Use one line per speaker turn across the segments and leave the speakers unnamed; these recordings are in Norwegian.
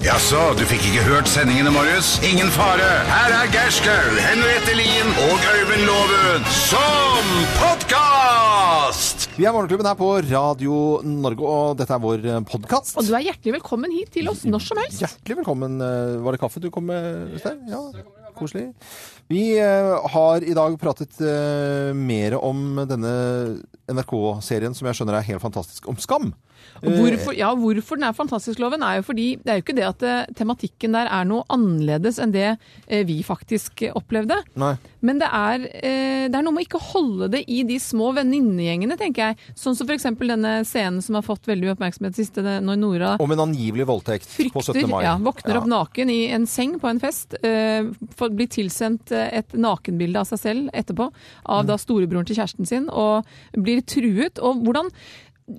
Jaså, du fikk ikke hørt sendingene, Marius? Ingen fare. Her er Gerskaug, Henriette Lien og Øyvind Loven som podkast!
Vi er Morgenklubben her på Radio Norge, og dette er vår eh, podkast.
Og du er hjertelig velkommen hit til oss når som helst.
Hjertelig velkommen. Eh, Var det kaffe du kom med, Øystein? Ja, koselig. Vi eh, har i dag pratet eh, mer om denne NRK-serien som jeg skjønner er helt fantastisk, om skam.
Og Hvorfor, ja, hvorfor den er fantastisk, Loven, er jo fordi det er jo ikke det at eh, tematikken der er noe annerledes enn det eh, vi faktisk eh, opplevde.
Nei.
Men det er, eh, det er noe med å ikke holde det i de små venninnegjengene, tenker jeg. Sånn som f.eks. denne scenen som har fått veldig mye oppmerksomhet siste, det- når Nora
Om en angivelig voldtekt på 17.
frykter,
mai.
ja, våkner opp
Ja.
naken i en seng på en fest, eh, får- blir tilsendt eh, et nakenbilde av seg selv etterpå, av
Mm.
da storebroren til kjæresten sin, og blir truet. Og hvordan,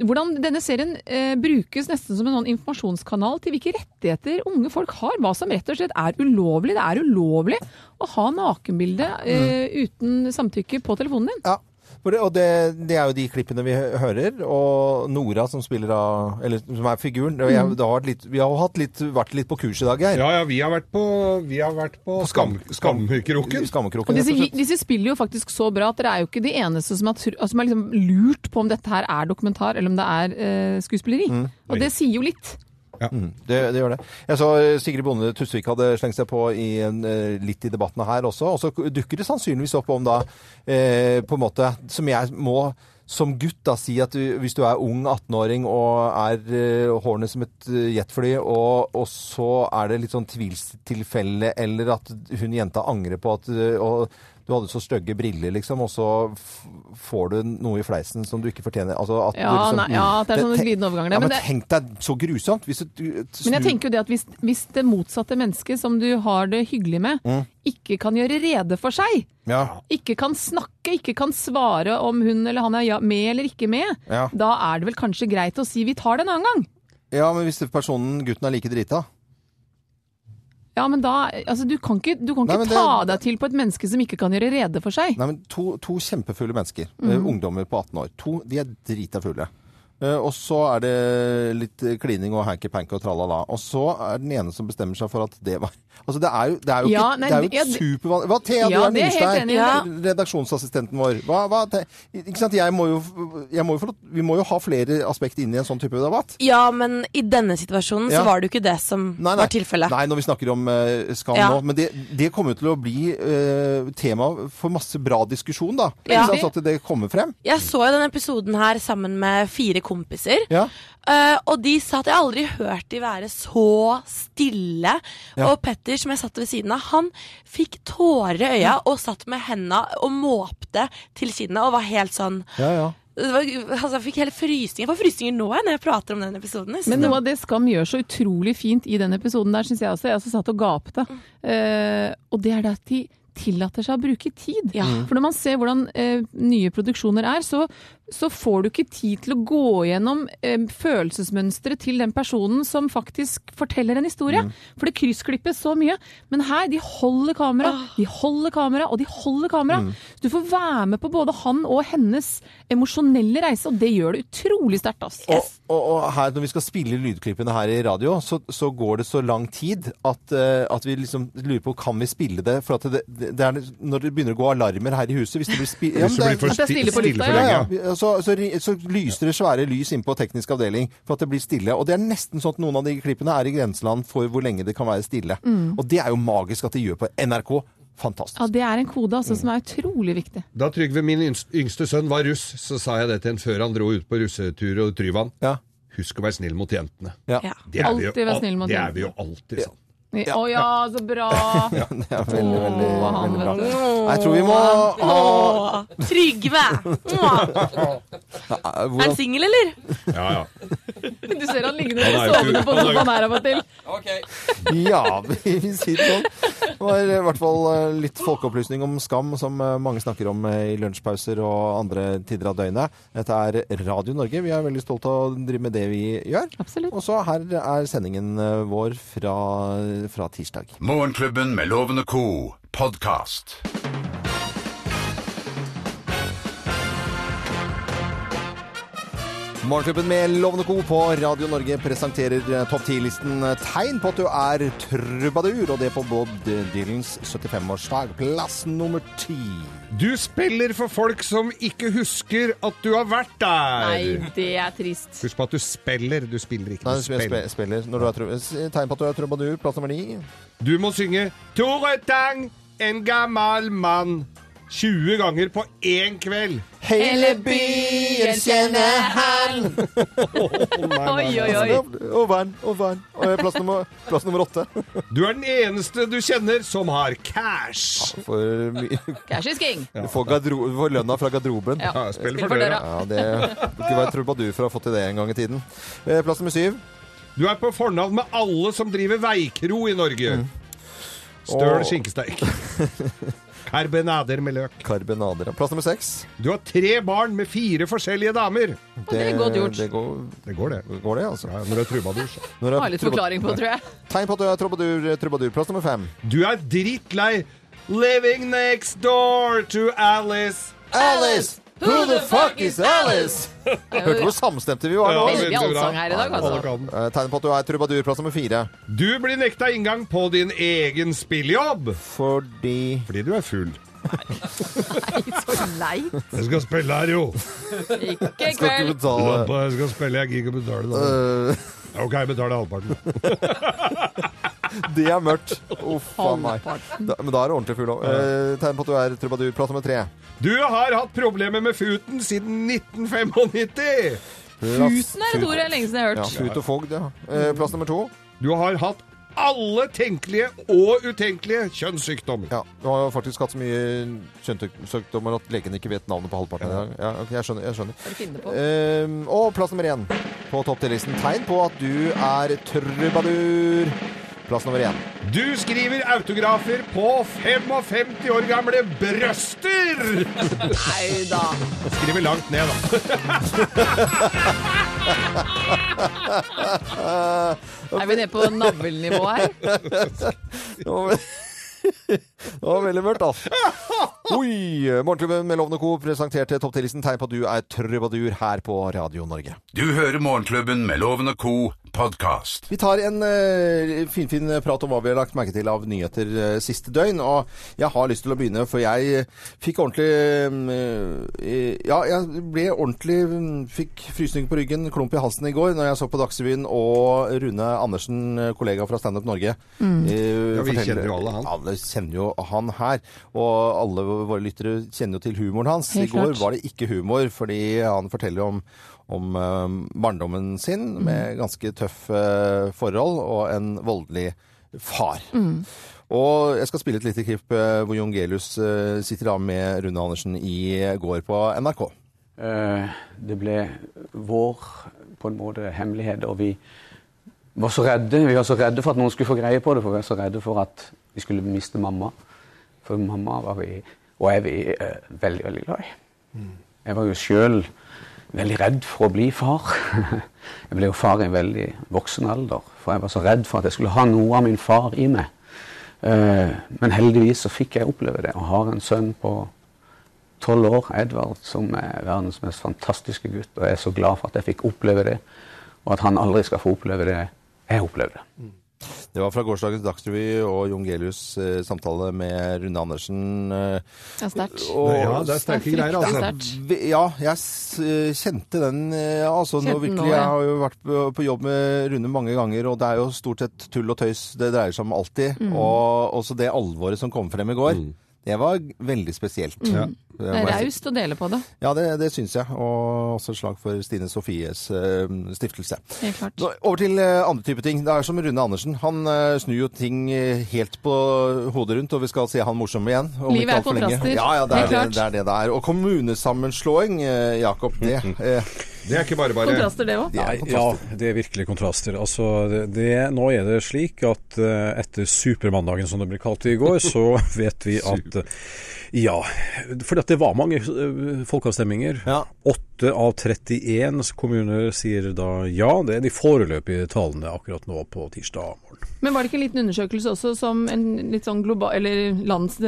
hvordan denne serien eh, brukes nesten som en sånn informasjonskanal til hvilke rettigheter unge folk har, hva som rett og slett er ulovlig. Det er ulovlig å ha nakenbilde
Mm.
eh, uten samtykke på telefonen din.
Ja. For det, og det, det er jo de klippene vi hø- hører, og Nora som spiller av Eller som er figuren. Og
Mm.
jeg, det har vært litt, vi har jo hatt litt, vært litt på kurs i dag, Geir.
Ja, ja, vi har vært på, vi har vært på, skam, skamkroken.
Og
Skammekroken.
disse,
rett og slett.
disse spiller jo faktisk så bra at dere er jo ikke de eneste som har, tru- altså, som har liksom lurt på om dette her er dokumentar eller om det er eh, skuespilleri.
Mm.
Og det sier jo litt.
Det, det gjør det. Jeg så eh, Sigrid Bonde Tusvik hadde slengt seg på i en, eh, litt i debattene her også. Og så dukker det sannsynligvis opp om da eh, på en måte Som jeg må som gutt da si at du, hvis du er ung 18-åring og er eh, hårene som et eh, jetfly, og, og så er det litt sånn tvilstilfelle, eller at hun jenta angrer på at eh, og, du hadde så stygge briller, liksom, og så f får du noe i fleisen som du ikke fortjener. Altså, at du
Ja,
liksom,
nei, ja, det er sånne
te-
glidende overganger, det,
Ja,
men
men
det-
tenk deg så grusomt. Hvis du, du-
Men jeg
snur-
tenker jo det at hvis, hvis det motsatte mennesket som du har det hyggelig med,
Mm.
ikke kan gjøre rede for seg,
Ja.
ikke kan snakke, ikke kan svare om hun eller han er ja, med eller ikke med,
Ja.
da er det vel kanskje greit å si vi tar det en annen gang.
ja, men hvis det- personen, gutten, er like drita
Ja, men da, altså Du kan ikke, du kan
Nei,
ikke
men det-
ta deg til på et menneske som ikke kan gjøre rede for seg.
Nei, men to, to kjempefulle mennesker. eh,
Mhm.
Ungdommer på 18 år. To, de er drita fulle. Eh, og så er det litt eh, klining og hanky-panky og tralala. Og så er den ene som bestemmer seg for at det var Altså, det er jo, det er jo
Ja,
ikke
nei,
Det er jo
ja,
et
det-
supervanlig Hva, Thea,
Ja,
du
det
er
er jeg helt
Nordstein.
enig i. Ja.
Redaksjonsassistenten vår. Hva, hva, te, ikke sant, jeg må jo, jeg må jo få lov- Vi må jo ha flere aspekter inn i en sånn type debatt.
Ja, men i denne situasjonen
Ja.
så var det jo ikke det som
Nei, nei.
var tilfellet.
Nei, når vi snakker om eh, skam
Ja.
nå. Men det, det kommer jo til å bli eh, tema for masse bra diskusjon, da.
Ja.
Altså at det kommer frem.
Jeg så jo denne episoden her sammen med fire kompiser.
Ja.
eh, og de sa at jeg aldri hørt de være så stille.
Ja.
Og Petter, som jeg satt ved siden av, han fikk tårer i øya og satt med henda og måpte til kinnet og var helt sånn
Ja, ja.
det var, altså, Jeg fikk hele frysninger. Jeg får frysninger nå jeg, når jeg prater om den episoden. Jeg synes
Men
den-
noe av det Skam gjør så utrolig fint i den episoden der, syns jeg også. Jeg også satt og gapte. Eh, og det er det at de tillater seg å bruke tid.
Ja. Mm.
For når man ser hvordan eh, nye produksjoner er, så, så får du ikke tid til å gå gjennom uh, følelsesmønsteret til den personen som faktisk forteller en historie. For det kryssklippes så mye. Men her, de holder kamera, de holder kamera, og de holder kamera. Så du får være med på både han og hennes emosjonelle reise, og det gjør det utrolig sterkt. ass.
Og, og, og her, når vi skal spille lydklippene her i radio, så, så går det så lang tid at, eh, at vi liksom lurer på kan vi spille det. For at det, det, det er når det begynner å gå alarmer her i huset hvis det blir spi ja,
Hvis
men
du
det-
blir for
At det er
sti-
stille på lufta,
for
ja.
lenge.
Ja, ja. Så, så, ri- så lyser det svære lys inne på teknisk avdeling for at det blir stille. Og det er nesten sånn at noen av de klippene er i grenseland for hvor lenge det kan være stille. Og det er jo magisk at de gjør på NRK. Fantastisk.
Mm. Ja, det er en kode altså, som er utrolig viktig.
Da Trygve, min yngst- yngste sønn, var russ, så sa jeg det til han før han dro ut på russetur og Tryvann.
Ja.
Husk å være snill mot jentene.
Ja.
ja.
Det er, vi jo,
Alltid være snill mot
det er
jentene.
vi jo alltid sånn.
Å ja. så bra!
Det er veldig, veldig,
Åh, han,
veldig bra.
vet
Jeg tror vi må ha
Åh, Trygve! Åh, Er han
hvordan,
singel, eller?
Ja, ja.
du. Du ser han liggende
Han er jo
og sovende
ikke-
på
han er jo-
sofaen her av og til.
Ja, vi vi sier det sånn. Det var i hvert fall eh, litt folkeopplysning om skam, som eh, mange snakker om eh, i lunsjpauser og andre tider av døgnet. Dette er Radio Norge. Vi er veldig stolte av å drive med det vi gjør.
Absolutt.
Og så her er sendingen eh, vår fra, fra tirsdag.
Morgenklubben med Loven og co. podkast.
Morgenklubben med Lovende Co på Radio Norge presenterer eh, topp 10-listen eh, tegn på at du er trubadur, og det på Bob Dylans 75-årsdag. Plass nummer ti.
Du spiller for folk som ikke husker at du har vært der.
Nei, det er trist.
Husk på at du spiller, du spiller ikke.
Nei,
Du
sp sp
spiller.
spiller. Når du er tru s- tegn på at du er trubadur, plass nummer ni.
Du må synge Tore Tang, en gammel mann. 20 ganger på én kveld.
Hele byen kjenner han. Oi, oi, oi.
Og vann, og vann. Og, eh, Plass nummer, plass nummer åtte.
Du er den eneste du kjenner som har cash.
For, mye-
Cash is king.
eh, du får, gardero du får lønna fra garderoben.
Ja,
Ja, spill for døra.
Ja, det burde være trubadur for å ha fått til det en gang i tiden. Eh, Plass nummer syv.
Du er på fornavn med alle som driver veikro i Norge. Støl
Åh.
skinkesteik. Karbenader med løk.
Karbonader. Plass nummer seks.
Du har tre barn med fire forskjellige damer.
det er godt gjort.
Det går,
Det går, det.
går det, altså.
Ja, når du er trubadur, så.
Når det er
Har litt
trubad-
forklaring på, tror jeg.
Tegn på at du er trubadur, trubadur. Plass nummer fem.
Du er drittlei Living next door to Alice.
Alice! Who the fuck is Alice? Hørte hvor samstemte vi var nå.
veldig
veldig bra.
allsang her i dag, altså.
Alle kan.
Eh, Tegn på at du er trubadur. Plass nummer fire.
Du blir nekta inngang på din egen spillejobb
Fordi
fordi du er full.
Så leit.
Jeg skal spille her, jo.
Ikke
Skal ikke
kveld.
betale
Jeg skal spille, jeg gidder ikke betale det.
Eh,
OK, jeg betaler halvparten.
Det er mørkt. Uff a meg. Da, men da er du ordentlig full òg. tegn på at du er trubadur. Plass nummer tre.
Du har hatt problemer med futen siden 1995.
Plass-
Tusen er et ord jeg lenge siden jeg har
Ja,
hørt.
fut og fogd, ja. Eh, Plass nummer to.
Du har hatt alle tenkelige og utenkelige kjønnssykdommer.
Ja, Du har jo faktisk hatt så mye kjønnssykdommer at legen ikke vet navnet på halvparten. Ja. Ja, ok, jeg skjønner. Jeg skjønner.
Hva finner du på?
Ehm, og plass nummer én på topp 10-listen. Tegn på at du er trubadur. Plass nummer én.
Du skriver autografer på 55 år gamle brøster!
Nei da.
Skriver langt ned, da.
Eh,
Er vi nede på navlenivå her?
Det var ve- Det var veldig mørkt, altså. Oi! Morgenklubben med Lovende Co. presenterte topp 10-listen. Tegn på at du er trubadur her på Radio Norge.
Du hører Morgenklubben med Loven og Co. podkast.
Vi tar en eh, finfin prat om hva vi har lagt merke til av nyheter eh, siste døgn. Og jeg har lyst til å begynne, for jeg fikk ordentlig eh, Ja, jeg ble ordentlig mm, Fikk frysning på ryggen, klump i halsen i går når jeg så på Dagsrevyen og Rune Andersen, eh, kollega fra Standup Norge. eh,
Mm. Ja, vi
forteller-
kjenner jo alle han.
Ja, alle kjenner jo han her. Og alle våre lyttere kjenner jo til humoren hans.
Helt
I går
klart.
var det ikke humor, fordi han forteller om, om eh, barndommen sin
Mm.
med ganske tøffe eh, forhold og en voldelig far.
Mm.
Og jeg skal spille et lite klipp eh, hvor Jon Gelius eh, sitter av med Rune Andersen i går på NRK.
Eh, Det ble vår på en måte hemmelighet, og vi var så redde. Vi var så redde for at noen skulle få greie på det, for vi var så redde for at vi skulle miste mamma. For mamma var vi, og er vi, eh, veldig, veldig glad i. Jeg var jo sjøl veldig redd for å bli far. Jeg ble jo far i en veldig voksen alder, for jeg var så redd for at jeg skulle ha noe av min far i meg. Eh, Men heldigvis så fikk jeg oppleve det, og har en sønn på tolv år, Edvard, som er verdens mest fantastiske gutt. Og jeg er så glad for at jeg fikk oppleve det, og at han aldri skal få oppleve det jeg opplevde.
Det var fra gårsdagens Dagsrevy og Jon Gelius' eh, samtale med Rune Andersen. eh,
Det er sterkt.
og
Ja, det er sterke greier,
Det er
altså.
sterkt.
Ve- Ja, jeg s- eh, kjente den eh, altså, nå
Kjente den
virkelig,
nå, ja.
Jeg har jo vært på, på jobb med Rune mange ganger, og det er jo stort sett tull og tøys det dreier seg om alltid.
Mm.
Og også det alvoret som kom frem i går.
Mm.
Det var g- veldig spesielt. Ja,
Mm. Det
det,
er
må jeg si.
raust å dele på det.
ja, det, det syns jeg. Og også slag for Stine Sofies eh, stiftelse.
Helt klart.
Nå, over til eh, andre type ting. Det er som Rune Andersen. Han eh, snur jo ting eh, helt på hodet rundt, og vi skal se han morsom igjen. om
Livet
ikke
er
alt for lenge.
kontraster.
Ja, ja, det er
Helt
det
klart.
det er det det er. Og kommunesammenslåing, eh, Jakob, det eh,
Det er ikke bare bare.
Kontraster, det òg.
det er
Nei,
kontraster.
ja, det er virkelig kontraster. Altså, det, det, nå er det slik at eh, etter supermandagen, som det ble kalt i går, så vet vi at eh, Ja. For det var mange eh, folkeavstemninger.
Ja.
8 av 31 kommuner sier da ja. Det er de foreløpige tallene akkurat nå på tirsdag morgen.
Men var det ikke en liten undersøkelse også, som en litt sånn global, eller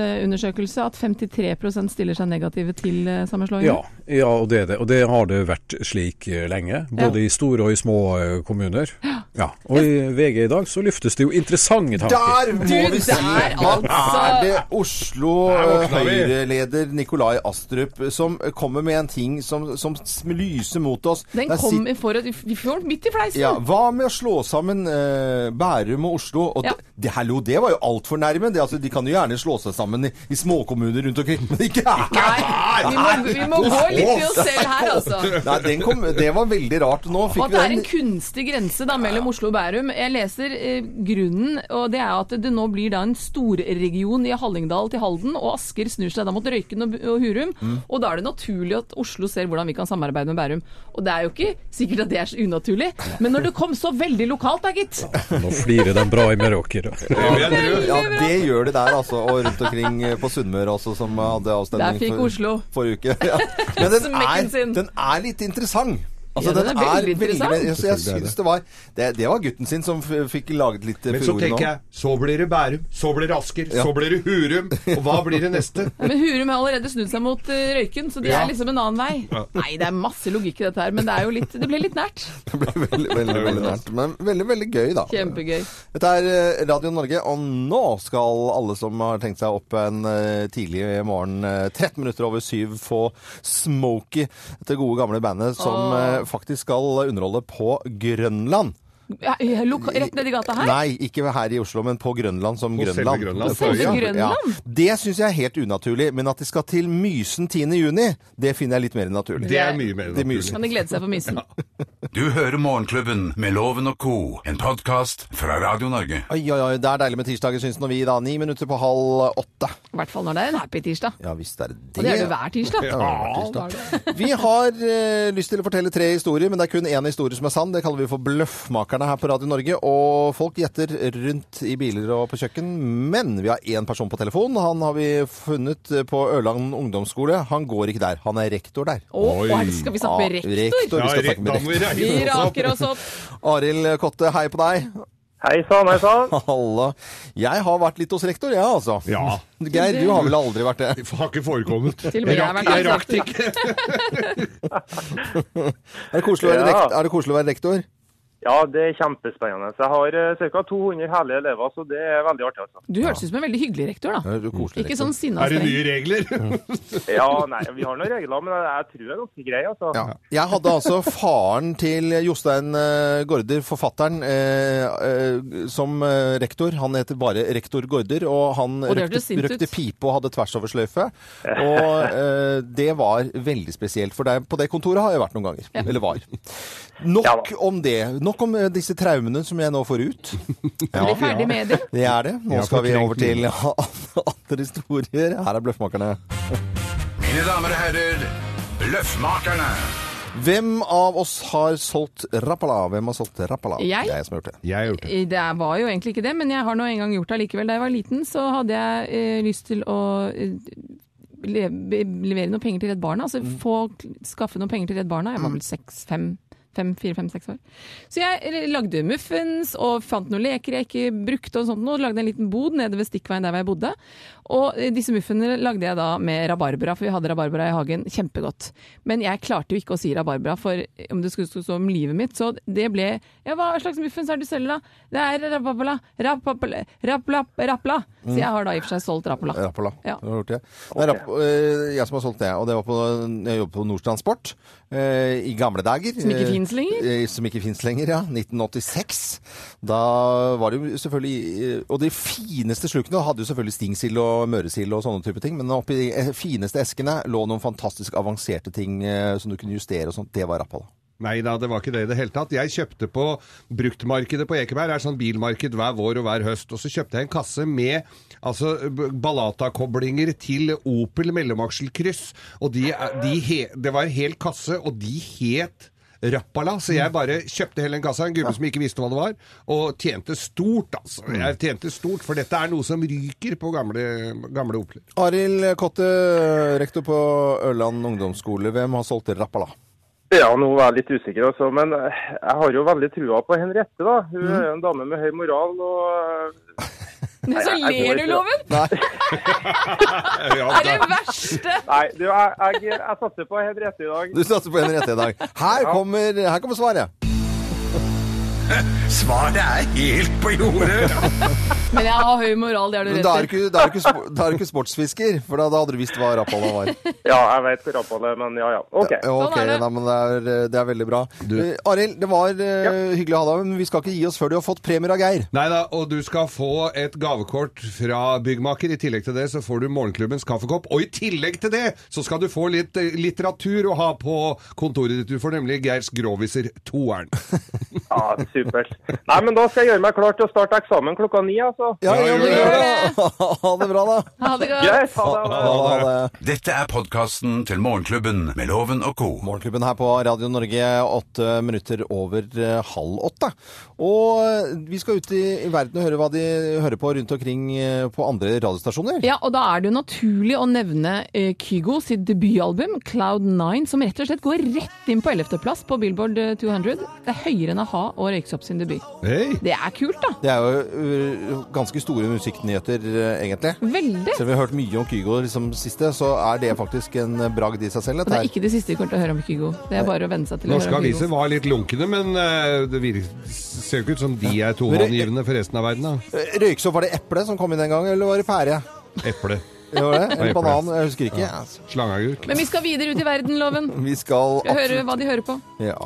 landsundersøkelse, at 53 stiller seg negative til eh,
Mhm.
Ja,
sammenslåingen?
ja og, det er det. og det har det vært slik eh, lenge. Både i store og i små eh, kommuner. Ja. Og i VG i dag så luftes det jo interessante tanker.
Der må
Du,
vi si
der,
at
altså.
er det Oslo
Der våkna vi.
Høyre-leder Nikolai Astrup som kommer med en ting som, som lyser mot oss.
Den
Der
kom
sit-
i forhånd, vi får den midt i fleisen!
ja, Hva med å slå sammen eh, Bærum og Oslo? Og
Ja.
det, det, hallo, det var jo altfor nærme. Det, altså, de kan jo gjerne slå seg sammen i, i småkommuner rundt omkring, men ikke
Nei,
her!
vi må, vi må gå litt i oss selv her, altså.
Nei, den kom, det var veldig rart. Nå
Og
fikk
at det
vi
er
den
en kunstig grense da mellom Oslo og Bærum. Jeg leser eh, grunnen, og det er at det nå blir da en storregion i Hallingdal til Halden, og Asker snur seg da mot Røyken og, og Hurum.
Mm.
Og da er det naturlig at Oslo ser hvordan vi kan samarbeide med Bærum. Og det er jo ikke sikkert at det er så unaturlig, men når det kom så veldig lokalt da, gitt.
Nå flirer de bra i Meråker.
Det vil jeg tro.
Ja, det gjør det der, altså. Og rundt omkring eh, på Sunnmøre også, som hadde avstemning
Der fikk
for-
Oslo.
forrige uke. Ja. Men den
Smekken
er,
sin.
den er litt interessant. Altså,
Ja, den er veldig interessant.
jeg, jeg syns det var det, det var gutten sin som f fikk laget litt eh,
Men så
furore nå.
tenker jeg, så blir det Bærum, så blir det Asker, så blir det Hurum, og hva blir det neste?
Men Hurum har allerede snudd seg mot eh, Røyken, så de
Ja.
er liksom en annen vei. Nei, det er masse logikk i dette her, men det, er jo litt, det ble litt nært.
Det ble veldig, veldig, veldig nært. Men veldig, veldig gøy, da.
Kjempegøy.
Dette er eh, Radio Norge, og nå skal alle som har tenkt seg opp en eh, tidlig morgen, eh, 13 minutter over syv, få Smokie, dette gode gamle bandet som
Åh.
eh, faktisk skal underholde på Grønland.
Ja, ja, loka- Rett nedi gata her?
Nei, ikke her i Oslo, men på Grønland som
På selve
Grønland.
Grønland,
På
på øya.
selve
Grønland?
Det syns jeg er helt unaturlig, men at de skal til Mysen 10. juni, det finner jeg litt mer naturlig.
Det er mye mer
Det er mye
naturlig.
Kan de glede seg for missen?
Du hører Morgenklubben med Loven og co., en podkast fra Radio Norge.
Oi, oi, oi, det er deilig med tirsdager, syns nå vi, da. Ni minutter på halv åtte.
I hvert fall når det er en happy tirsdag.
Ja visst er det det.
Og det er det hver tirsdag.
Ja, det er tirsdag. Vi har eh, lyst til å fortelle tre historier, men det er kun én historie som er sann. Det kaller vi for Bløffmakerne her på Radio Norge. Og folk gjetter rundt i biler og på kjøkken. Men vi har én person på telefon. Han har vi funnet på Ørland ungdomsskole. Han går ikke der. Han er rektor der.
Å, her skal vi snakke med
Ja, Vi
rektor?
Ja,
skal snakke
da
med
må vi
rektor.
Vi
reise oss opp.
raker oss opp.
Arild Kotte, hei på deg.
Hei sann, hei sann.
Halla. Jeg har vært litt hos rektor, jeg, ja, altså.
Ja.
Geir, du har vel aldri vært det?
Det har ikke forekommet.
Til og med jeg har vært
jeg
der.
rakk det ikke.
Er det koselig å være,
Ja.
rekt er det koselig å være rektor?
Ja, det er kjempespennende. Jeg har eh, ca. 200 herlige elever, så det er veldig artig, altså.
Du hørtes ut som en veldig hyggelig rektor, da.
Er du koselig rektor?
Ikke sånn sinna
Er det
streng.
nye regler?
Ja, nei, vi har noen regler, men jeg, jeg tror jeg er ganske grei, altså.
Ja. Jeg hadde altså faren til Jostein eh, Gaarder, forfatteren, eh, eh, som eh, rektor. Han heter bare rektor Gaarder, og han
Og det
røkte,
hørtes sint ut.
røkte pipe og hadde tvers over sløyfe. Og eh, det var veldig spesielt, for der, på det kontoret har jeg vært noen ganger. Eller var.
Ja
Nok
da.
om det. Nok om eh, disse traumene som jeg nå får ut.
Er vi ferdig med det?
Det er det. Nå
har
skal vi
fortrengt
over til andre historier. Her er Bløffmakerne.
Mine damer og herrer, Løffmakerne.
Hvem av oss har solgt Rappala? Hvem har solgt Rappala?
Jeg.
Det er jeg som har gjort det.
Jeg har gjort det.
Det var jo egentlig ikke det, men jeg har nå en gang gjort det allikevel. Da jeg var liten, så hadde jeg eh, lyst til å eh, le- be- levere noen penger til Redd Barna. Altså
Mm.
få, skaffe noen penger til Redd Barna. Jeg var vel seks, fem. Fem, fire, fem, seks år. Så jeg lagde muffins og fant noen leker jeg ikke brukte. Og sånt, noe, og lagde en liten bod nede ved stikkveien der hvor jeg bodde. Og eh, disse muffinsene lagde jeg da med rabarbra, for vi hadde rabarbra i hagen. Kjempegodt. Men jeg klarte jo ikke å si rabarbra, for eh, om det skulle skulle stå om livet mitt, så det ble Ja, hva slags muffins er det du selger, da? Det er rababla, rapapla, rapla, rapla.
Mm.
Så jeg har da i og for seg solgt rapla.
Rapala.
Ja.
Det har jeg gjort det. Det er rap eh, jeg som har solgt det, og det var på Jeg jobbet på Nordstrandsport eh, i gamle dager.
Som ikke finnes lenger?
Eh, som ikke fins lenger, ja. 1986. Da var det jo selvfølgelig eh, Og de fineste slukene hadde jo selvfølgelig stingsild og møresild og sånne type ting, men oppi de eh, fineste eskene lå noen fantastisk avanserte ting eh, som du kunne justere og sånt. Det var Rapala.
Nei da, det var ikke det i det hele tatt. Jeg kjøpte på bruktmarkedet på Ekeberg. Det er sånn bilmarked hver vår og hver høst. Og så kjøpte jeg en kasse med altså, b- Balata-koblinger til Opel mellomaksjelkryss. Og de, er- de he, det var en hel kasse, og de het Rappala, så jeg bare kjøpte hele den kassa, en gubbe som ikke visste hva det var, og tjente stort, altså. Jeg tjente stort, for dette er noe som ryker på gamle, gamle Opeler.
Arild Kotte, rektor på Ørland ungdomsskole. Hvem har solgt Rapala?
Ja, nå var jeg litt usikker også, men eh, jeg har jo veldig trua på Henriette, da. Hun er jo en dame med høy moral, og eh,
Men så
jeg-
ler
jeg går
du,
ikke.
Loven!
Ja,
Det er
da.
det verste!
Nei, du, jeg, jeg, jeg satser på Henriette i dag.
Du satser på Henriette i dag. Her kommer, her kommer svaret.
Svaret er helt på jordet.
Men jeg har høy moral, det har du
Men da er
rett
du
i.
ikke, da er du ikke, spo- da er du ikke sportsfisker, for da, da hadde du visst hva Rapala var.
Ja, jeg vet hvor rappal er, men ja ja. OK.
Ja, ok,
Sånn er det.
Nei, men det, er, det er veldig bra. Eh, Arild, det var eh, hyggelig å ha deg med, men vi skal ikke gi oss før du har fått premier av Geir.
Nei da, og du skal få et gavekort fra byggmaker. I tillegg til det så får du morgenklubbens kaffekopp. Og i tillegg til det så skal du få litt eh, litteratur å ha på kontoret ditt. Du får nemlig Geirs Groviser 2-eren.
Ja, Supert. Nei, men da skal jeg gjøre meg klar til å starte eksamen klokka ni, altså.
Ja, ja, men
gjør
gjør det. Ha det bra, da.
Ha det godt.
Greit, ha det.
Ha det, ha det.
Dette er podkasten til Morgenklubben med Loven og co.
Morgenklubben her på Radio Norge, åtte minutter over eh, halv åtte. Og eh, vi skal ut i i verden og høre hva de hører på rundt omkring eh, på andre radiostasjoner.
Ja, og da er det jo naturlig å nevne eh, Kygo sitt debutalbum, Cloud 9, som rett og slett går rett inn på 11.-plass på Billboard eh, 200. Det er høyere enn a-ha og Røyksopp sin debut.
Hei!
Det er kult, da.
Det er jo eh, ganske store musikknyheter, eh, egentlig.
Veldig.
Selv om vi har hørt mye om Kygo liksom siste, så er det faktisk en eh, bragd i seg selv.
Og
Dette
det
her.
er ikke det siste vi kommer til å høre om Kygo. Det er bare å venne seg til å
Norske
høre om
aviser
Kygo.
var litt lunkne, men eh, det virker, ser jo ikke ut som de er toneangivende for resten av verden. da.
Eh, Røyksopp, var det eple som kom inn den gangen, eller var det pære?
Eple.
Det var det. Eller
eple.
banan, jeg husker ikke. Altså,
Slangeagurk.
Men vi skal videre ut i verden, Loven.
Vi skal
Skal høre hva de hører på.
Ja.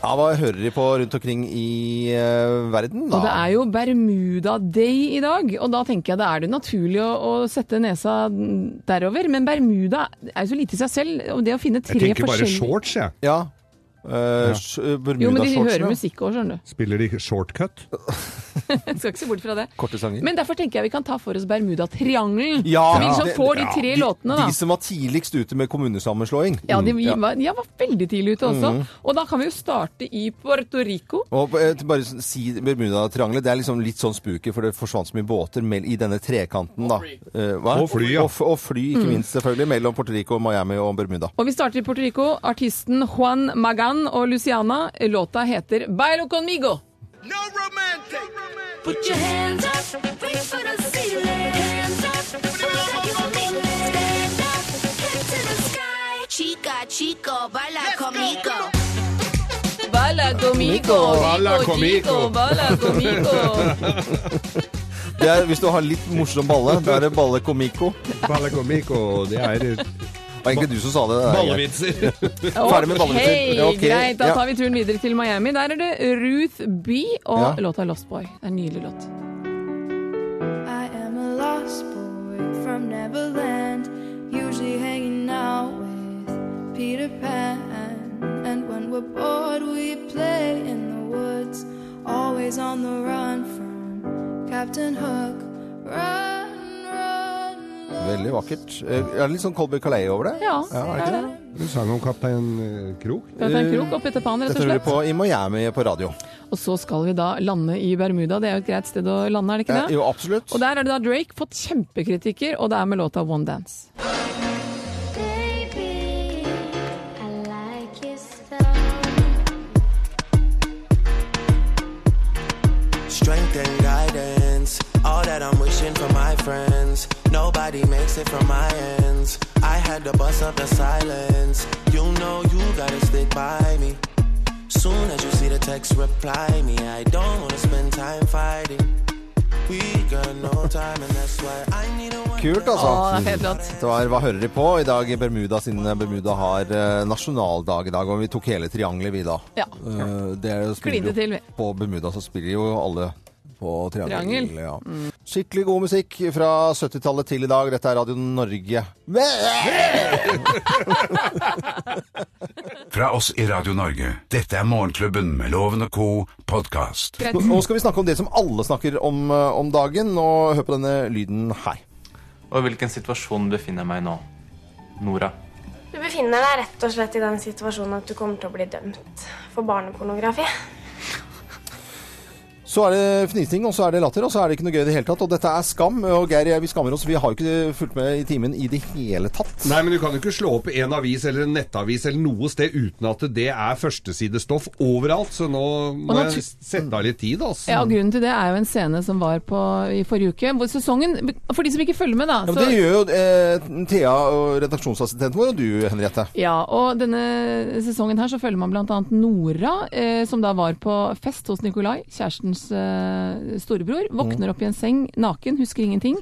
ja, hva hører de på rundt omkring i eh, verden, da?
Og det er jo Bermuda Day i dag, og da tenker jeg det er det naturlig å, å sette nesa derover. Men Bermuda er jo så lite i seg selv, og det å finne tre
Jeg tenker bare
forskjellige
shorts, jeg.
Ja. Eh, s-
Jo, men de
Bermudashortsene.
hører musikk òg, skjønner du.
Spiller de shortcut?
Jeg skal ikke se bort fra det.
Korte sanger.
Men derfor tenker jeg vi kan ta for oss Bermudatriangelen.
Ja,
så vi liksom
det-
får de
ja,
tre
de-
låtene, da.
De som var tidligst ute med kommunesammenslåing.
ja, de, Var, ja, var veldig tidlig ute også.
Mm.
Og da kan vi jo starte i Puerto Rico.
Og eh, til bare s- si Bermuda-triangelet, det er liksom litt sånn spooky, for det forsvant så mye båter mell- i denne trekanten, da. Eh, hva?
Og fly, ja.
Og, f- og fly,
Mm.
ikke minst, selvfølgelig, mellom Puerto Rico, Miami og Bermuda.
Og vi starter i Puerto Rico. Artisten Juan Magan og Luciana. Låta heter Bailo conmigo.
Chico, baila conmigo.
Baila conmigo,
Baila conmigo.
baila conmigo.
Det er, hvis du har litt morsom balle, da er det balle comico.
Balagomico, det er
Det var egentlig du som sa det. det der.
ballevitser.
Ferdig med ballevitser. Ja,
Ok,
ok.
greit. Da
Ja.
tar vi turen videre til Miami. Der er det Ruth B og
Ja.
låta Lost Boy. Det er en nydelig låt.
I am a lost boy from Neverland, usually hanging out with Peter Pan. And when we're bored, we play in the woods, always on the run from Captain Hook. Run, run,
Veldig vakkert. Eh, Er det litt sånn Colby Calais over det?
Ja,
er det ikke det?
Du sang om Kaptein eh, Krok.
det er en krok opp etter panen, rett
Dette
og
hører du
slett.
på i Miami på radio.
Og så skal vi da lande i Bermuda. Det er jo et greit sted å lande, er det ikke
Eh,
det?
Jo, absolutt.
Og der er det da Drake fått kjempekritikker, og det er med låta One Dance.
Baby, I like your style.
Strength and guidance, all that I'm wishing for my friends. Nobody makes it from my ends. I had to bust up the silence. You know you gotta stick by me. Soon as you see the text, reply me. I don't wanna spend time fighting. We got no time, and that's why I need a one.
Kult,
Å,
altså.
det er fet låt.
Det var, hva hører de på i dag i Bermuda, siden Bermuda har eh, nasjonaldag i dag? Og vi tok hele triangelet, vi da.
Ja.
Eh, det er jo
Klinte
spiller jo-
til, vi.
På Bermuda så spiller jo alle på triangel.
Triangel. Mm.
Ja. Skikkelig god musikk fra 70-tallet til i dag. Dette er Radio Norge.
Fra oss i Radio Norge. Dette er Morgenklubben med Loven og co. podkast.
Nå skal vi snakke om det som alle snakker om eh, om dagen. Og hør på denne lyden her.
Og i hvilken situasjon befinner jeg meg nå? Nora.
Du befinner deg rett og slett i den situasjonen at du kommer til å bli dømt for barnepornografi.
Så er det fnising, og så er det latter, og så er det ikke noe gøy i det hele tatt. Og dette er skam. Og Geir, vi skammer oss. Vi har jo ikke fulgt med i timen i det hele tatt.
Nei, men du kan jo ikke slå opp en avis eller en nettavis eller noe sted uten at det er førstesidestoff overalt, så nå må
Og natu-
jeg sette av litt tid, altså.
Ja, og Grunnen til det er jo en scene som var på i forrige uke. Hvor sesongen, For de som ikke følger med, da.
Ja, men
så-
det gjør jo eh, Thea, og redaksjonsassistenten vår, og du, Henriette.
Ja, og denne sesongen her så følger man bl.a. Nora, eh, som da var på fest hos Nikolai, kjærestens eh, storebror. Våkner opp i en seng naken, husker ingenting.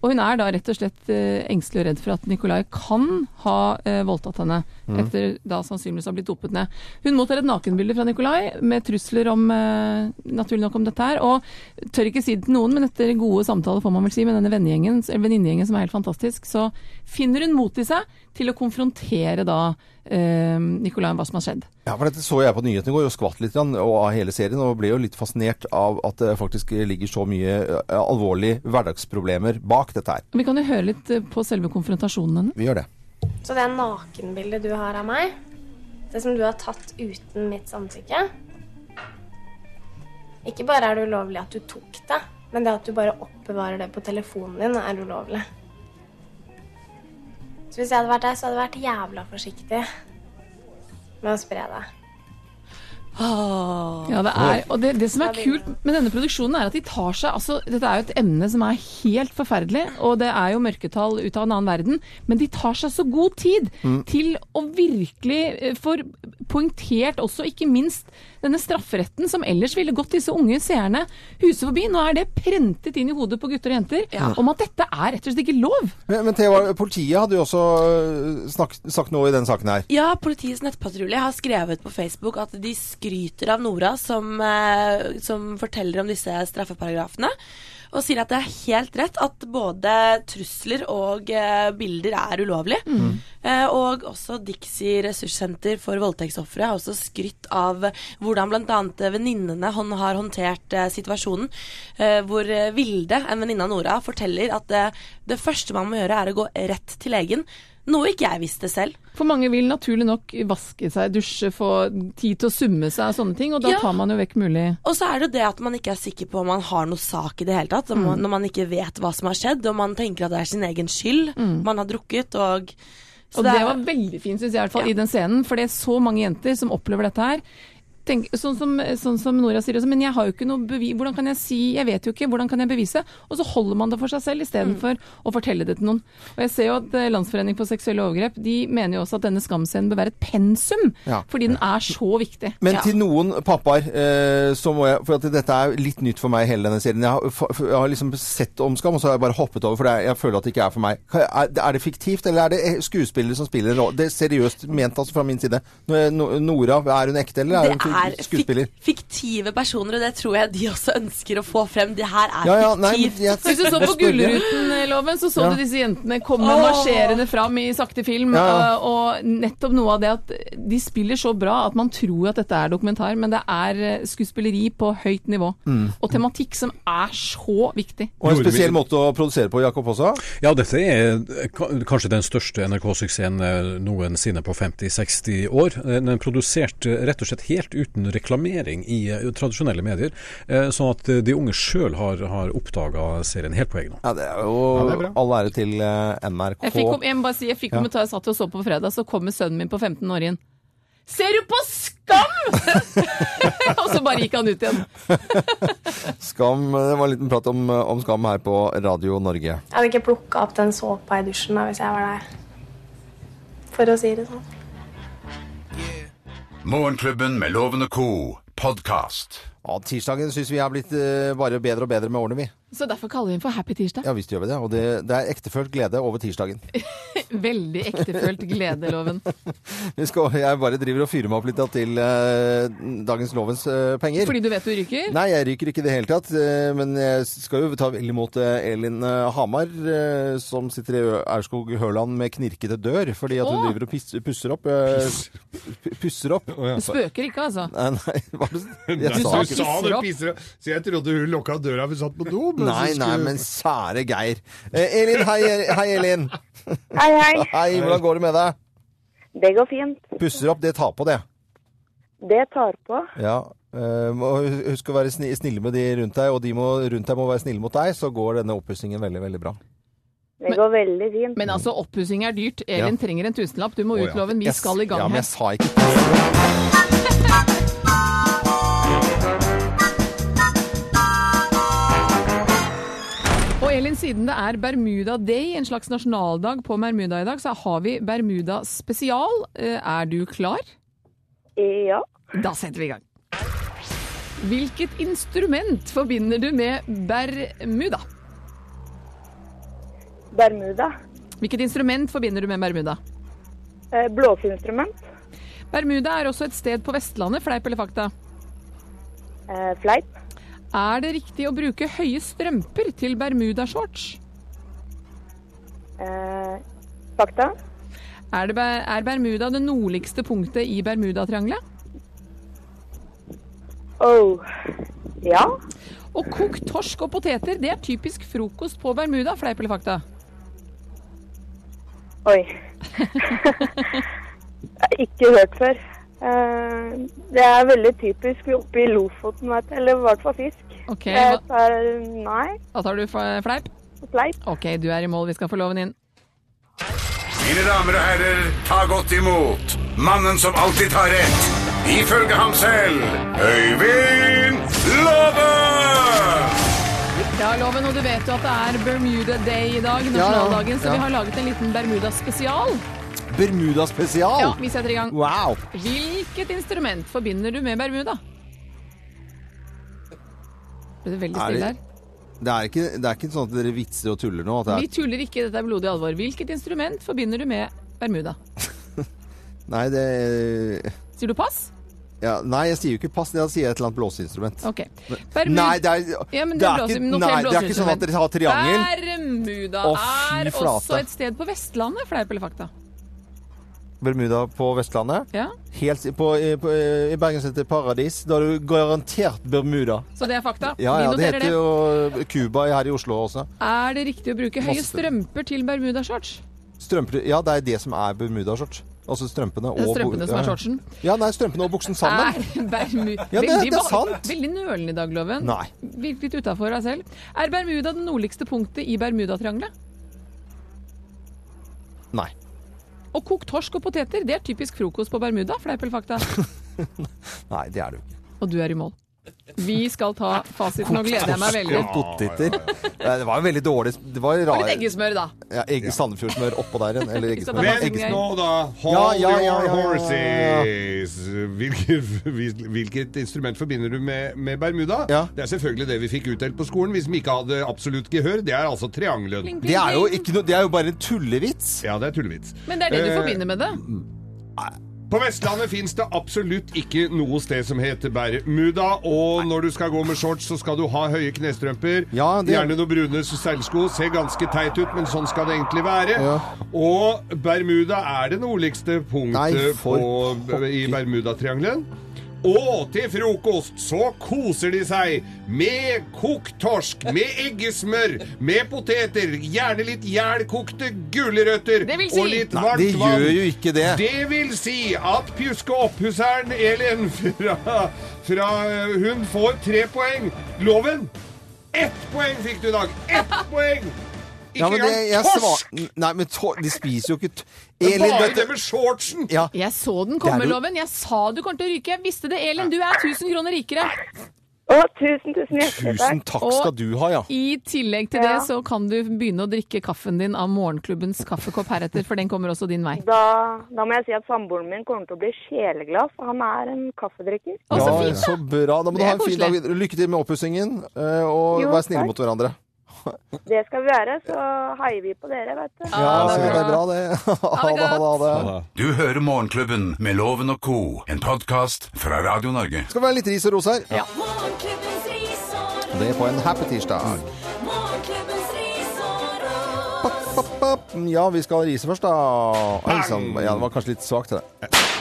Og hun er da rett og slett eh, engstelig og redd for at Nikolai kan ha eh, voldtatt henne.
Mhm.
Etter da sannsynligvis å ha blitt dopet ned. Hun mottar et nakenbilde fra Nikolai med trusler om eh, naturlig nok om dette her. Og tør ikke si det til noen, men etter gode samtaler får man vel si med denne vennegjengen, eller venninnegjengen som er helt fantastisk, så finner hun mot i seg til å konfrontere da eh, Nikolai om hva som har skjedd.
Ja, for dette så jeg på nyhetene i går og skvatt litt grann, og av hele serien, og ble jo litt fascinert av at det faktisk ligger så mye eh, alvorlige hverdagsproblemer bak dette her.
Vi kan jo høre litt eh, på selve konfrontasjonen hennes.
Vi gjør det.
Så det nakenbildet du har av meg, det som du har tatt uten mitt samtykke Ikke bare er det ulovlig at du tok det, men det at du bare oppbevarer det på telefonen din, er ulovlig. Så hvis jeg hadde vært deg, så hadde jeg vært jævla forsiktig med å spre det.
Ja, det er, og det, det som er kult med denne produksjonen er at de tar seg altså, Dette er jo et emne som er helt forferdelig, og det er jo mørketall ut av en annen verden, men de tar seg så god tid
Mm.
til å virkelig eh, få poengtert også ikke minst denne strafferetten som ellers ville gått disse unge seerne huset forbi. Nå er det prentet inn i hodet på gutter og jenter om at dette er rett og slett ikke lov.
Men, men Thea, politiet hadde jo også eh, snak, sagt noe i den saken her.
Ja, politiets nettpatrulje har skrevet på Facebook at de skryter av Nora som, eh, som forteller om disse straffeparagrafene, og sier at det er helt rett at både trusler og eh, bilder er ulovlig. Eh, og også Dixie ressurssenter for voldtektsofre har også skrytt av hvordan bl.a. venninnene hon- har håndtert eh, situasjonen, eh, hvor eh, Vilde, en venninne av Nora, forteller at eh, det første man må gjøre er å gå rett til legen, noe ikke jeg visste selv.
For mange vil naturlig nok vaske seg, dusje, få tid til å summe seg og sånne ting, og da
Ja.
tar man jo vekk mulig
Og så er det jo det at man ikke er sikker på om man har noe sak i det hele tatt. om man-
Mm.
Når man ikke vet hva som har skjedd, og man tenker at det er sin egen skyld.
Mm.
Man har drukket og så
og det,
er-
var veldig fint, syns jeg, i, hvert fall, i den scenen. For det er så mange jenter som opplever dette her. Tenk, sånn, som, sånn som Nora sier også, men jeg har jo ikke noe bevis Hvordan kan jeg si Jeg vet jo ikke, hvordan kan jeg bevise? Og så holder man det for seg selv istedenfor å fortelle det til noen. Og jeg ser jo at eh, Landsforening for seksuelle overgrep de mener jo også at denne skamscenen bør være et pensum,
Ja.
fordi den er så viktig.
Men
Ja.
til noen pappaer, eh, så må jeg For at dette er litt nytt for meg, hele denne serien. Jeg har, fa- jeg har liksom sett om skam, og så har jeg bare hoppet over, for det er, jeg føler at det ikke er for meg. Ka- Er, er det fiktivt, eller er det eh, skuespillere som spiller en rolle? Det er seriøst ment, altså, fra min side. Nå- nå- Nora, er hun ekte, eller er
Det
hun fi-
er
skuespiller?
fiktive personer, og det tror jeg de også ønsker å få frem. Det her er
Ja, ja, nei, men
fiktivt.
jeg-
Hvis du så på
Jeg spurte.
Gullruten-loven, så så
Ja.
du disse jentene komme
Åh.
marsjerende fram i sakte film.
Ja, ja.
øh, Og nettopp noe av det at de spiller så bra at man tror at dette er dokumentar, men det er eh, skuespilleri på høyt nivå.
Mm.
Og tematikk som er så viktig.
Og en spesiell måte å produsere på, Jakob også?
Ja, dette er eh, ka- kanskje den største NRK-suksessen eh, noensinne på 50-60 år. Eh, Den er produsert eh, rett og slett helt uten reklamering i eh, tradisjonelle medier, eh, sånn at eh, de unge sjøl har, har oppdaga serien helt på egen hånd.
Ja, det er jo all ære til eh, NRK.
Jeg fikk, kom, jeg må bare si, jeg fikk
Ja.
kommentar jeg satt og så på på fredag, så kommer sønnen min på 15 år inn. Ser du på Skam?! og så bare gikk han ut igjen.
Skam, Det var en liten prat om, eh, om skam her på Radio Norge.
Jeg hadde ikke plukka opp den såpa i dusjen da, hvis jeg var deg. For å si det sånn.
Morgenklubben med Loven og co. podkast.
Ja, Tirsdagen syns vi er blitt eh, bare bedre og bedre med årene, vi.
Så derfor kaller vi den for Happy Tirsdag.
Ja visst gjør vi det. Og det, det er ektefølt glede over tirsdagen.
Veldig ektefølt gledeloven.
Vi skal, jeg bare driver og fyrer meg opp litt da til eh, dagens lovens eh, penger.
Fordi du vet du ryker?
Nei, jeg ryker ikke i det hele tatt. eh, men jeg skal jo ta vel imot eh, Elin eh, Hamar, eh, som sitter i Ø- Aurskog Høland med knirkete dør fordi at hun
Åh!
driver og piss, pusser opp. eh, p- pusser opp.
Du spøker ikke, altså?
Nei, nei, hva er det
Nei,
jeg
du
ikke-
sa det, pisser opp. Så jeg trodde hun lukka døra vi satt på do. men så
Nei, nei,
skulle-
men sære Geir. Eh, Elin, hei, hei Elin.
Hei, hei.
Hei, hvordan går det med deg?
Det går fint.
Pusser opp, det tar på det.
Det tar på.
Ja. Um, og hu- husk å være sni- snille med de rundt deg, og de må, rundt deg må være snille mot deg, så går denne oppussingen veldig, veldig bra.
Det går veldig fint. Men altså, oppussing er dyrt. Elin trenger en tusenlapp. Du må
Mm. Å, ja.
utlove en. Vi
Jeg s-
skal i gang
Ja, men
her.
jeg sa ikke
Og Elin, siden det er Bermuda Day, en slags nasjonaldag på Bermuda i dag, så har vi Bermuda spesial. Eh, Er du klar? Ja. Da setter vi i gang. Hvilket instrument forbinder du med Bermuda? Bermuda. Hvilket instrument forbinder du med Bermuda? Eh, Blåseinstrument. Bermuda er også et sted på Vestlandet, fleip eller fakta? fleip. Er det riktig å bruke høye strømper til bermudashorts? fakta. Er, det, Ber- er Bermuda det nordligste punktet i Bermudatriangelet? Oh, ja. Og kokt torsk og poteter, det er typisk frokost på Bermuda, fleip eller fakta?
Oi. Ikke hørt før. Eh, Det er veldig typisk oppe i Lofoten, vet du. Eller i hvert fall fisk.
Ok,
Jeg
hva-
tar nei.
Da tar du fe- fleip? Fleip. OK, du er i mål. Vi skal få loven inn.
Mine damer og herrer, ta godt imot mannen som alltid tar rett. Ifølge ham selv Øyvind Låve!
Ja, Loven, og du vet jo at det er Bermuda Day i dag,
Ja,
nasjonaldagen, så
ja.
vi har laget en liten Bermuda-spesial.
Bermuda spesial!
Ja, vi setter i gang.
Wow!
Hvilket instrument forbinder du med Bermuda? Ble det veldig
Er
stille
det,
her?
det, er ikke, det er ikke sånn at dere vitser og tuller nå? At det
Vi
er,
tuller ikke, dette er blodig alvor. Hvilket instrument forbinder du med Bermuda?
nei, det
Sier du pass?
ja, Nei, jeg sier jo ikke pass, da sier jeg et eller annet blåseinstrument.
Ok.
Men-
Bermu-
Nei, det er,
Ja, men
det er
blåser-
ikke,
noter
nei, det er ikke sånn
blåseinstrument.
at dere har triangel.
Bermuda
Å, fy
er
flate.
også et sted på Vestlandet, fleip eller fakta.
Bermuda på Vestlandet.
Ja,
Helt i- på, i- på, I Bergen heter det Paradis. Da har du garantert Bermuda.
Så det er fakta.
Ja, ja,
vi
det
noterer
heter jo Cuba her i Oslo også.
Er det riktig å bruke høye
Masse.
strømper til bermudashorts?
Strømper, ja, det er det som er Bermuda-shorts. Altså strømpene og
Det er strømpene
bu-
som er
ja.
shortsen.
Ja, nei, strømpene og buksen sammen.
Er Bermu...
Ja, det- det er
Veldig ba-
sant.
Veldig nølende i dag, Loven.
Nei.
Virker litt utafor deg selv. Er Bermuda det nordligste punktet i Bermudatriangelet?
Nei.
Og kokt torsk og poteter, det er typisk frokost på Bermuda, fleip eller fakta?
Nei, det er det jo ikke.
Og du er i mål. Vi skal ta fasiten, og gleder jeg meg veldig.
Kokt poteter. Nei, Det var jo veldig dårlig Det var
Og litt
rar
eggesmør, da.
ja, egg, Sandefjordsmør oppå der igjen. Eller
Så
eggesmør.
det var
Vent
sånn
nå,
gøy.
da. Hold
Ja, ja, ja, ja,
your
ja, ja,
horses. Hvilket, hvilket instrument forbinder du med, med Bermuda? Det er selvfølgelig det vi fikk utdelt på skolen hvis vi ikke hadde absolutt gehør. Det er altså triangelen.
Pling, pling, Det er jo pling.
det er jo bare en tullevits.
Ja, det er tullevits.
Men det er det du
Eh,
forbinder med det.
På Vestlandet fins det absolutt ikke noe sted som heter Bermuda. Og når du skal gå med shorts, så skal du ha høye knestrømper.
det-
Gjerne noen brune seilsko. Ser ganske teit ut, men sånn skal det egentlig være.
Ja.
Og Bermuda er det nordligste
Nei,
punktet
for
på, i Bermudatriangelen. Og til frokost så koser de seg med kokt torsk, med eggesmør, med poteter, gjerne litt jælkokte gulrøtter
Det vil si-
og litt
Nei,
varmt
det
vann.
gjør jo ikke det.
Det vil si at pjuske opp-husseren Elin fra, fra eh, Hun får tre poeng. Loven! Ett poeng fikk du i dag. Ett poeng! Ikke
Ja, men det, jeg
engang torsk!
svar- Nei, men tor de spiser jo ikke t
Det
Elin,
var jo
dette
det med shortsen!
ja.
Jeg så den
Det
komme,
er jo-
Loven. Jeg sa du kom til å ryke. Jeg visste det. Elin, du er 1000 kroner rikere.
Å, tusen, tusen hjertelig
Tusen takk skal
Og
du ha, ja.
I tillegg til det så kan du begynne å drikke kaffen din av morgenklubbens kaffekopp heretter, for den kommer også din vei.
Da, da må jeg si at samboeren min kommer til å bli sjeleglad, for han er en kaffedrikker.
Ja, så bra. Da må du
Det
ha
er
en fin dag
koselig.
videre. Lykke til med oppussingen, eh, og
Jo,
vær snille
takk.
mot hverandre.
Det skal vi gjøre, så heier vi på dere, vet du.
Ja, det er bra, det. Ha det, ha det. Ha det.
Du hører Morgenklubben med Loven og co., en podkast fra Radio Norge.
Skal det være litt ris og ros her? Og Det er på en happy tirsdag. sånn. Papp, papp, papp. Ja, vi skal rise først, da. Oi sann. Ja, det var kanskje litt svakt, det.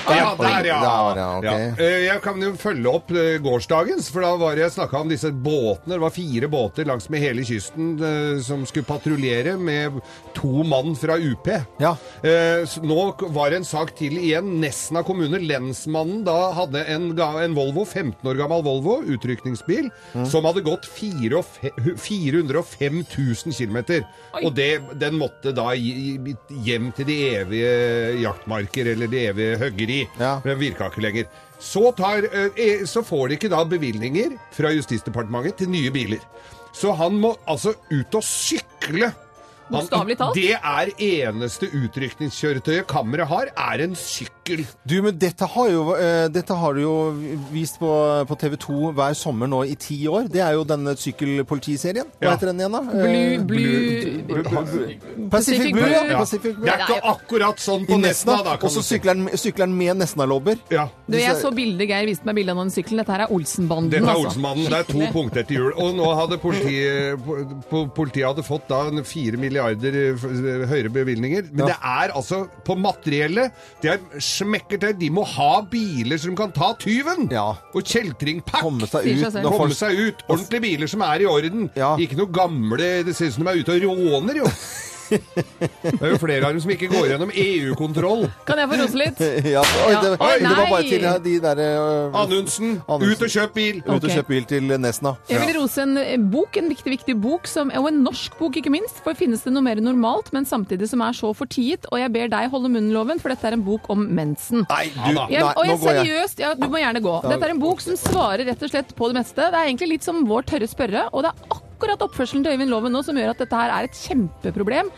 Ja, der, ja.
Der, ja, ok.
Ja. Eh, Jeg kan jo følge opp eh, gårsdagens, for da var jeg snakka om disse båtene. Det var fire båter langsmed hele kysten eh, som skulle patruljere med to mann fra UP. Eh, så Nå k- var det en sak til igjen. Nesna kommune, lensmannen, da hadde en, ga- en Volvo, 15 år gammel Volvo, utrykningsbil, som hadde gått fire og fe- 405 000 km. Og det, den måtte da gi- gi- hjem til de evige jaktmarker, eller de evige høggeri. For den virka ikke lenger. Så, tar, eh, eh, så får de ikke da bevilgninger fra Justisdepartementet til nye biler. Så han må altså ut og sykle. Han-
Bokstavelig talt.
Det er eneste utrykningskjøretøyet kammeret har, er en sykkel.
Du, men dette har, jo, eh, dette har du jo vist på, på TV 2 hver sommer nå i ti år. Det er jo denne sykkelpolitiserien. Hva
Ja.
heter den igjen, da?
Blue-
Eh,
Blue-
Pacific Blue, ja.
Ja.
Pacific Blue.
Det er ikke akkurat sånn på
I
Nesna,
Nesna.
da. kan
Og så
du si.
sykler han- sykler han med Nesna-lobber.
Du, jeg så bildet Geir viste meg bildet av den sykkelen. Dette her er Olsenbanden.
Dette er
altså.
Olsenmannen. Det er to
Skikkelig.
punkter til jul. Og nå hadde politiet, po- politiet hadde fått da en fire milliarder f- høyere bevilgninger. Men det er altså på materiellet Det er smekker til. De må ha biler som kan ta tyven! Og kjeltringpakk! Komme
seg ut Sier seg selv. når folk-
seg ut. Ordentlige biler som er i orden. Ikke noe gamle Det ser ut som de er ute og råner, jo. Det er jo flere av dem som ikke går gjennom E EU-kontroll.
Kan jeg få rose litt?
ja. Oi, det,
Oi,
det var bare
nei.
til eh, de der eh,
Anundsen, ut og kjøp bil!
Ut og
Ok.
kjøp bil til Nesna.
Jeg vil rose en eh, bok, en viktig, viktig bok, som, og en norsk bok ikke minst, for finnes det noe mer normalt, men samtidig som er så fortiet, og jeg ber deg holde munnen, Loven, for dette er en bok om mensen.
Nei, du,
Jeg,
nei,
og
nå
jeg,
går jeg.
seriøst, ja, du må gjerne gå.
Ja.
Dette er en bok som svarer rett og slett på det meste. Det er egentlig litt som vår tørre spørre, og det er akkurat oppførselen til Øyvind Loven nå som gjør at dette her er et kjempeproblem.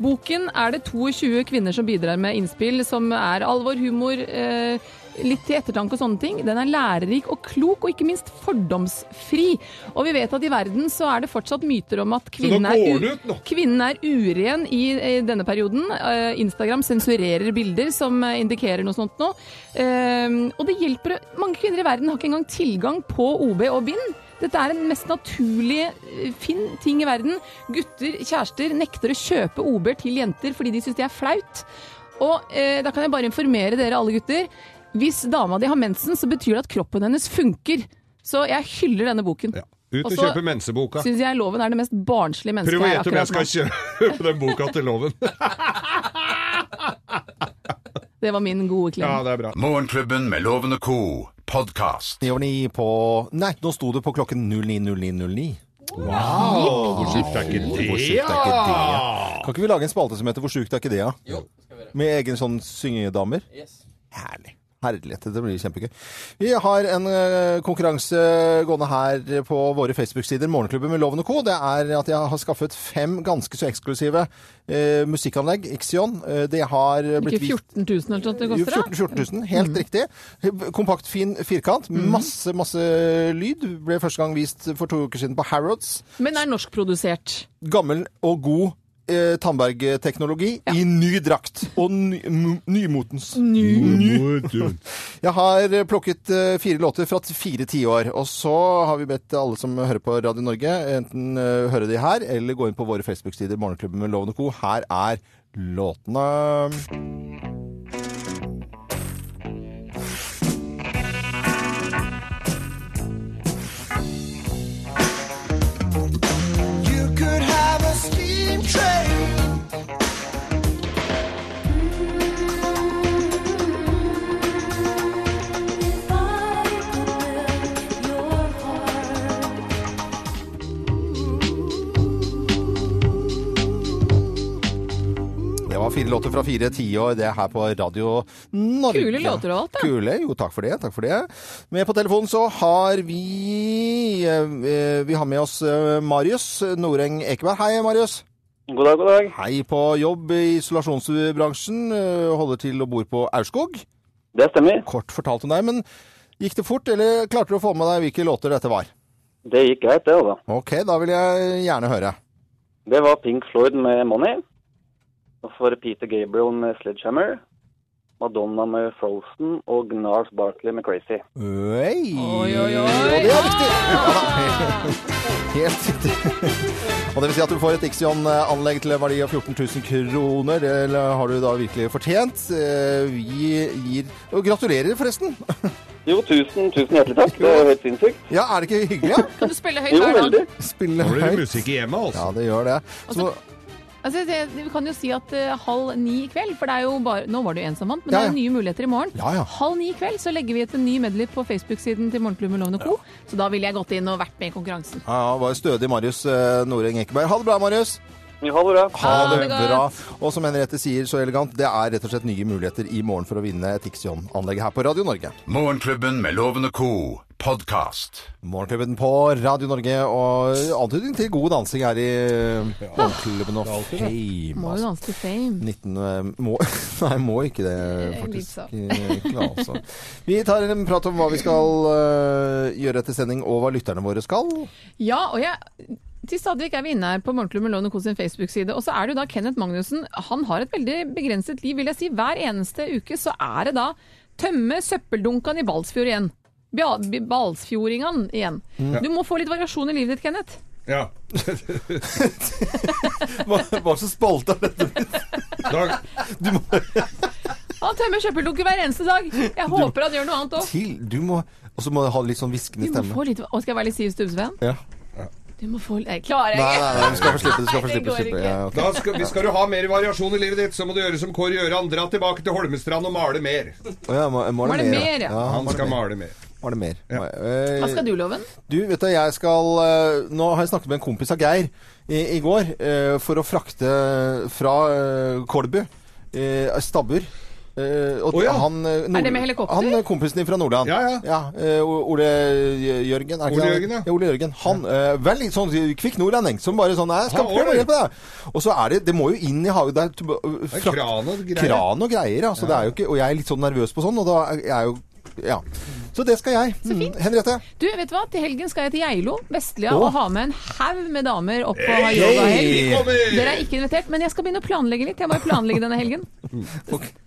Boken er det 22 kvinner som bidrar med innspill, som er alvor, humor, eh, litt til ettertanke og sånne ting. Den er lærerik og klok, og ikke minst fordomsfri. Og vi vet at i verden så er det fortsatt myter om at kvinnen
nå
er,
går
u-
det ut nå.
kvinnen er uren i, i denne perioden. Eh, Instagram sensurerer bilder som eh, indikerer noe sånt nå. Eh, og det hjelper Mange kvinner i verden har ikke engang tilgang på OB og bind. Dette er en mest naturlige eh, fin ting i verden. Gutter, kjærester, nekter å kjøpe OB-er til jenter fordi de syns det er flaut. Og eh, da kan jeg bare informere dere alle gutter. Hvis dama di har mensen, så betyr det at kroppen hennes funker. Så jeg hyller denne boken.
Ut og
så
kjøpe menseboka.
Syns jeg loven er det mest barnslige mennesket
Prøv å
jeg
gjette om jeg skal
akkurat nå.
kjøpe den boka til loven.
Det var min gode klem.
det er bra.
Morgenklubben med Loven og co. podkast.
Ni over ni på Nei, nå sto det på klokken 09.09.09.
Wow! Hvor sjukt er ikke det,
Hvor sjukt er ikke det? ja? Kan ikke vi lage en spalte som heter 'Hvor sjukt er ikke det'? Ja? Med egen sånn syngedamer? Herlig. Herlighet, dette blir kjempegøy. Vi har en eh, konkurranse gående her på våre Facebook-sider, Morgenklubben med Loven og Co. Det er at jeg har skaffet fem ganske så eksklusive eh, musikkanlegg. Ixion. Eh, det har blitt
Ikke
vist
14 000 eller sånt det Mm.
jo,
koster,
14, 14 000, helt riktig. Kompakt, fin firkant.
Mm.
Masse, masse lyd. Ble første gang vist for to uker siden på Harrods.
Men er norskprodusert.
Gammel og god eh, Tandberg-teknologi i ny drakt. Og ny, m- nymotens. Ny. Jeg har eh, plukket eh, fire låter fra t- fire tiår. Og så har vi bedt alle som hører på Radio Norge, enten eh, høre de her, eller gå inn på våre Facebook-sider, Morgenklubben med Loven og Co. Her er låtene.
You could have a steam train.
Det var fire låter fra fire tiår, det er her på Radio Norge.
Kule låter du har valgt, da.
Kule, jo takk for det, takk for det. Med på telefonen så har vi eh, Vi har med oss eh, Marius Noreng Ekeberg. Hei, Marius.
God dag, god dag.
Hei på jobb i isolasjonsbransjen. eh, Holder til og bor på Aurskog.
Det stemmer.
Kort fortalt om deg, men gikk det fort, eller klarte du å få med deg hvilke låter dette var?
Det gikk greit, det. da.
Ok, da vil jeg gjerne høre.
Det var Pink Floyd med 'Money'. Og for Peter Gabriel med 'Sledgehammer'. Madonna med Frozen og Gnars Barkley med Crazy.
Oi!
Oi, oi, oi.
Og det er riktig!
Ah!
Helt riktig. Og det vil si at du får et Ixion-anlegg til en verdi av 14 000 kroner. Det har du da virkelig fortjent. Eh, Vi gir Og gratulerer, forresten.
Jo, tusen, tusen hjertelig takk. Det er jo helt sinnssykt.
Ja, er det ikke hyggelig? Ja?
Kan du spille høyt
Jo,
hver dag?
veldig.
Spille
Nå blir det
høyt.
musikk i hjemmet, altså.
Ja, det gjør det. Så,
Altså, det, vi kan jo si at eh, halv ni i kveld, for det er jo bare, nå var det jo en som vant, men
Ja,
det er jo nye muligheter i morgen.
Ja, ja.
Halv ni i kveld så legger vi ut en ny medley på Facebook-siden til Morgenklubben Loven og Co. Så da ville jeg gått inn og vært med i
ja,
konkurransen.
ja, var stødig Marius eh, Noreng Ekeberg. Ha det bra, Marius.
Ha det bra.
Ha det
godt.
bra. Og som Henriette sier så elegant, det er rett og slett nye muligheter i morgen for å vinne et Ixion-anlegg her på Radio Norge.
Morgenklubben med Loven og co. podkast.
Morgenklubben på Radio Norge, og antydning til god dansing her i Morgenklubben og
Må
Fame.
jo danse til fame.
19 må, Nei, må ikke det,
Eh, litt
faktisk.
så.
Ikke, altså. Vi tar en prat om hva vi skal øh, gjøre etter sending, og hva lytterne våre skal.
Ja, og jeg... Til stadigvæk er vi inne her på Morgenklubben Loven og Co. sin Facebook-side, og så er det jo da Kenneth Magnussen. Han har et veldig begrenset liv, vil jeg si. Hver eneste uke så er det da tømme søppeldunkene i Balsfjord igjen. Bja- Balsfjordingene igjen.
Mm.
Du må få litt variasjon i livet ditt, Kenneth.
Ja.
hva, hva slags spalte er dette?
Dag,
Han tømmer søppeldunker hver eneste dag. Jeg håper han gjør noe annet òg.
Til Du må Og så må du ha litt sånn
Du
hviskende
må
stemme.
få litt Å, skal jeg være litt Siv Stubbsveen?
Ja.
Du må få Jeg klarer
Nei,
ikke!
nei, nei, du skal få slippe. Du skal få
Nei, det
slippe.
går
slippe.
ikke.
Ja, ok.
da skal, hvis skal du ha mer variasjon i livet ditt, så må du gjøre som Kåre Gjøran. Dra tilbake til Holmestrand og male mer.
Å ja, må, må
Må
det
det
mer,
mer, ja.
Han
må det
skal
mer.
male mer.
Må det mer.
Hva skal du, Loven?
Du, vet du, jeg skal eh, Nå har jeg snakket med en kompis av Geir i, i går eh, for å frakte fra eh, Kolbu. eh, Stabbur. Eh, og
Å ja.
han, eh,
Er det med helikopter?
Han eh, kompisen din fra Nordland.
Ja, ja.
eh, Ole Jørgen. er ikke
Ole
han?
Jørgen, ja.
Ole Jørgen. Han eh, var litt sånn kvikk nordlending som bare sånn «Nei, Jeg skal
Ah,
prøve å
oi.
hjelpe deg. Og så er det Det må jo inn i hagen der. til-
Det er
frakt-
kran og greier.
Kran og greier, altså. Det er jo ikke, og jeg er litt sånn nervøs på sånn, og da er jeg jo Ja. Så det skal jeg. Mm, Henriette.
Du, vet du hva? Til helgen skal jeg til Geilo, Vestlia,
Å.
og ha med en haug med damer opp og ha
Hey!
yogahelg.
Kommer!
Dere er ikke invitert, men jeg skal begynne å planlegge litt. Jeg må jo planlegge denne helgen.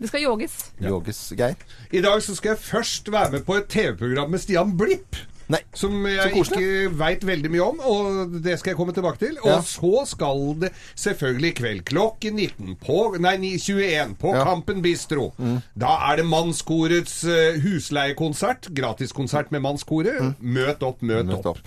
Det skal yoges.
Yoges Geir.
I dag så skal jeg først være med på et TV-program med Stian Blipp.
Nei.
Som jeg
koselig.
ikke veit veldig mye om, og det skal jeg komme tilbake til. Og
Ja.
så skal det selvfølgelig i kveld klokken 19 på Nei, 9 21 på Kampen Bistro.
Mm.
Da er det Mannskorets eh, husleiekonsert. Gratiskonsert med Mannskoret.
Mm.
Møt opp, møt, opp.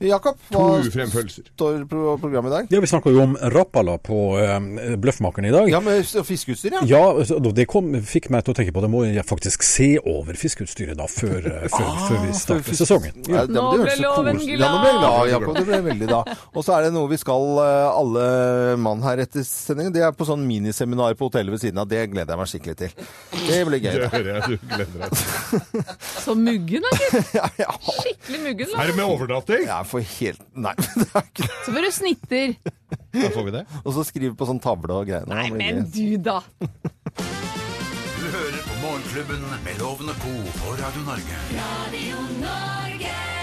Jakob,
To
hva
fremførelser.
står på programmet i dag?
Ja, Vi snakka jo om Rapala på eh, Bløffmakeren i dag.
Ja, med fiskeutstyr, ja.
Ja, altså, det kom, fikk meg til å tenke på det. Må jeg faktisk se over fiskeutstyret da, før, eh, før, før vi starter sesongen.
Ah, Ja, det-
Nå
det
ble
hørtes så
loven
koselig-
glad.
Ja, nå ble jeg glad, Jakob. Det ble veldig da. Og så er det noe vi skal, eh, alle mann her etter sendingen. Det er på sånn miniseminar på hotellet ved siden av. Det gleder jeg meg skikkelig til. Det blir
Det
gøy. da.
hører jeg du gleder deg til.
Så muggen, da, gitt. Skikkelig muggen.
Er
Da.
det med overnatting?
Jeg får helt Nei. det er ikke-
Så får du snitter.
Da får vi det.
Og så skrive på sånn tavle og greier.
Nei,
Det blir
men
gøy.
du, da.
Du hører på Morgenklubben med Loven og co. på Radio Norge.
Radio Norge.